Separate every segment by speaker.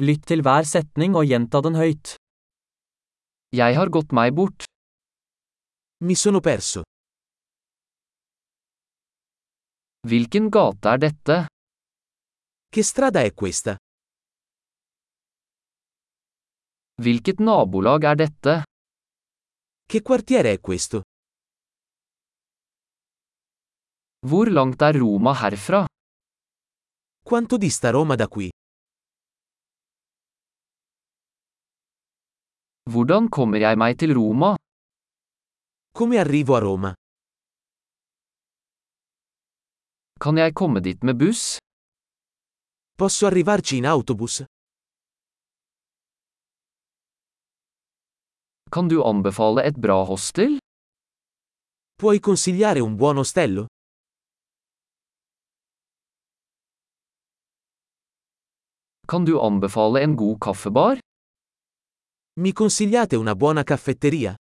Speaker 1: Lytt til hver setning og gjenta den høyt. Jeg har gått meg bort.
Speaker 2: Mi sono perso.
Speaker 1: Hvilken gate er dette?
Speaker 2: Che strada è questa?
Speaker 1: Hvilket nabolag er dette?
Speaker 2: Che quartiere è questo?
Speaker 1: Hvor langt er Roma herfra?
Speaker 2: Quanto dista Roma da qui?
Speaker 1: Hvordan kommer jeg meg til Roma?
Speaker 2: Come arrivo a Roma?
Speaker 1: Kan jeg komme dit med buss?
Speaker 2: Posso arrivarci in autobus?
Speaker 1: Kan du anbefale et bra hostel?
Speaker 2: Puoi consigliare un buon ostello?
Speaker 1: Kan du anbefale en god kaffebar?
Speaker 2: Mi consigliate una buona caffetteria?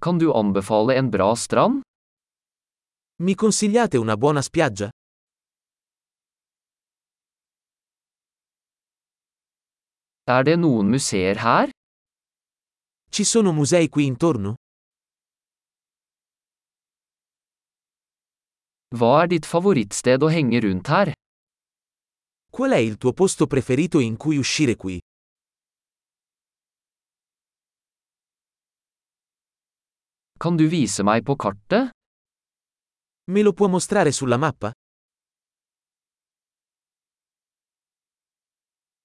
Speaker 1: Kan du anbefale en bra strand?
Speaker 2: Mi consigliate una buona spiaggia?
Speaker 1: Er det noen museer her?
Speaker 2: Ci sono musei qui intorno?
Speaker 1: Hva er ditt favorittsted å henge rundt her?
Speaker 2: Qual è il tuo posto preferito in cui uscire qui?
Speaker 1: Kan du vise meg på kartet?
Speaker 2: Me lo può mostrare sulla mappa?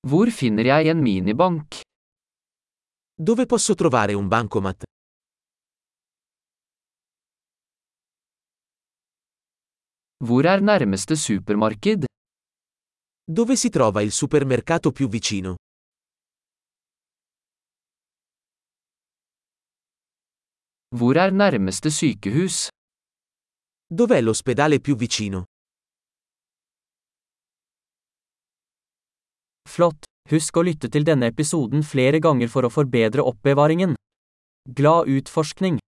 Speaker 1: Hvor finner jeg en minibank?
Speaker 2: Dove posso trovare un bancomat?
Speaker 1: Hvor er nærmeste supermarked?
Speaker 2: Dove si trova il supermercato più vicino?
Speaker 1: Hvor er nærmeste sykehus?
Speaker 2: Dov'è l'ospedale più vicino?
Speaker 1: Flott! Husk å lytte til denne episoden flere ganger for å forbedre oppbevaringen. Glad utforskning!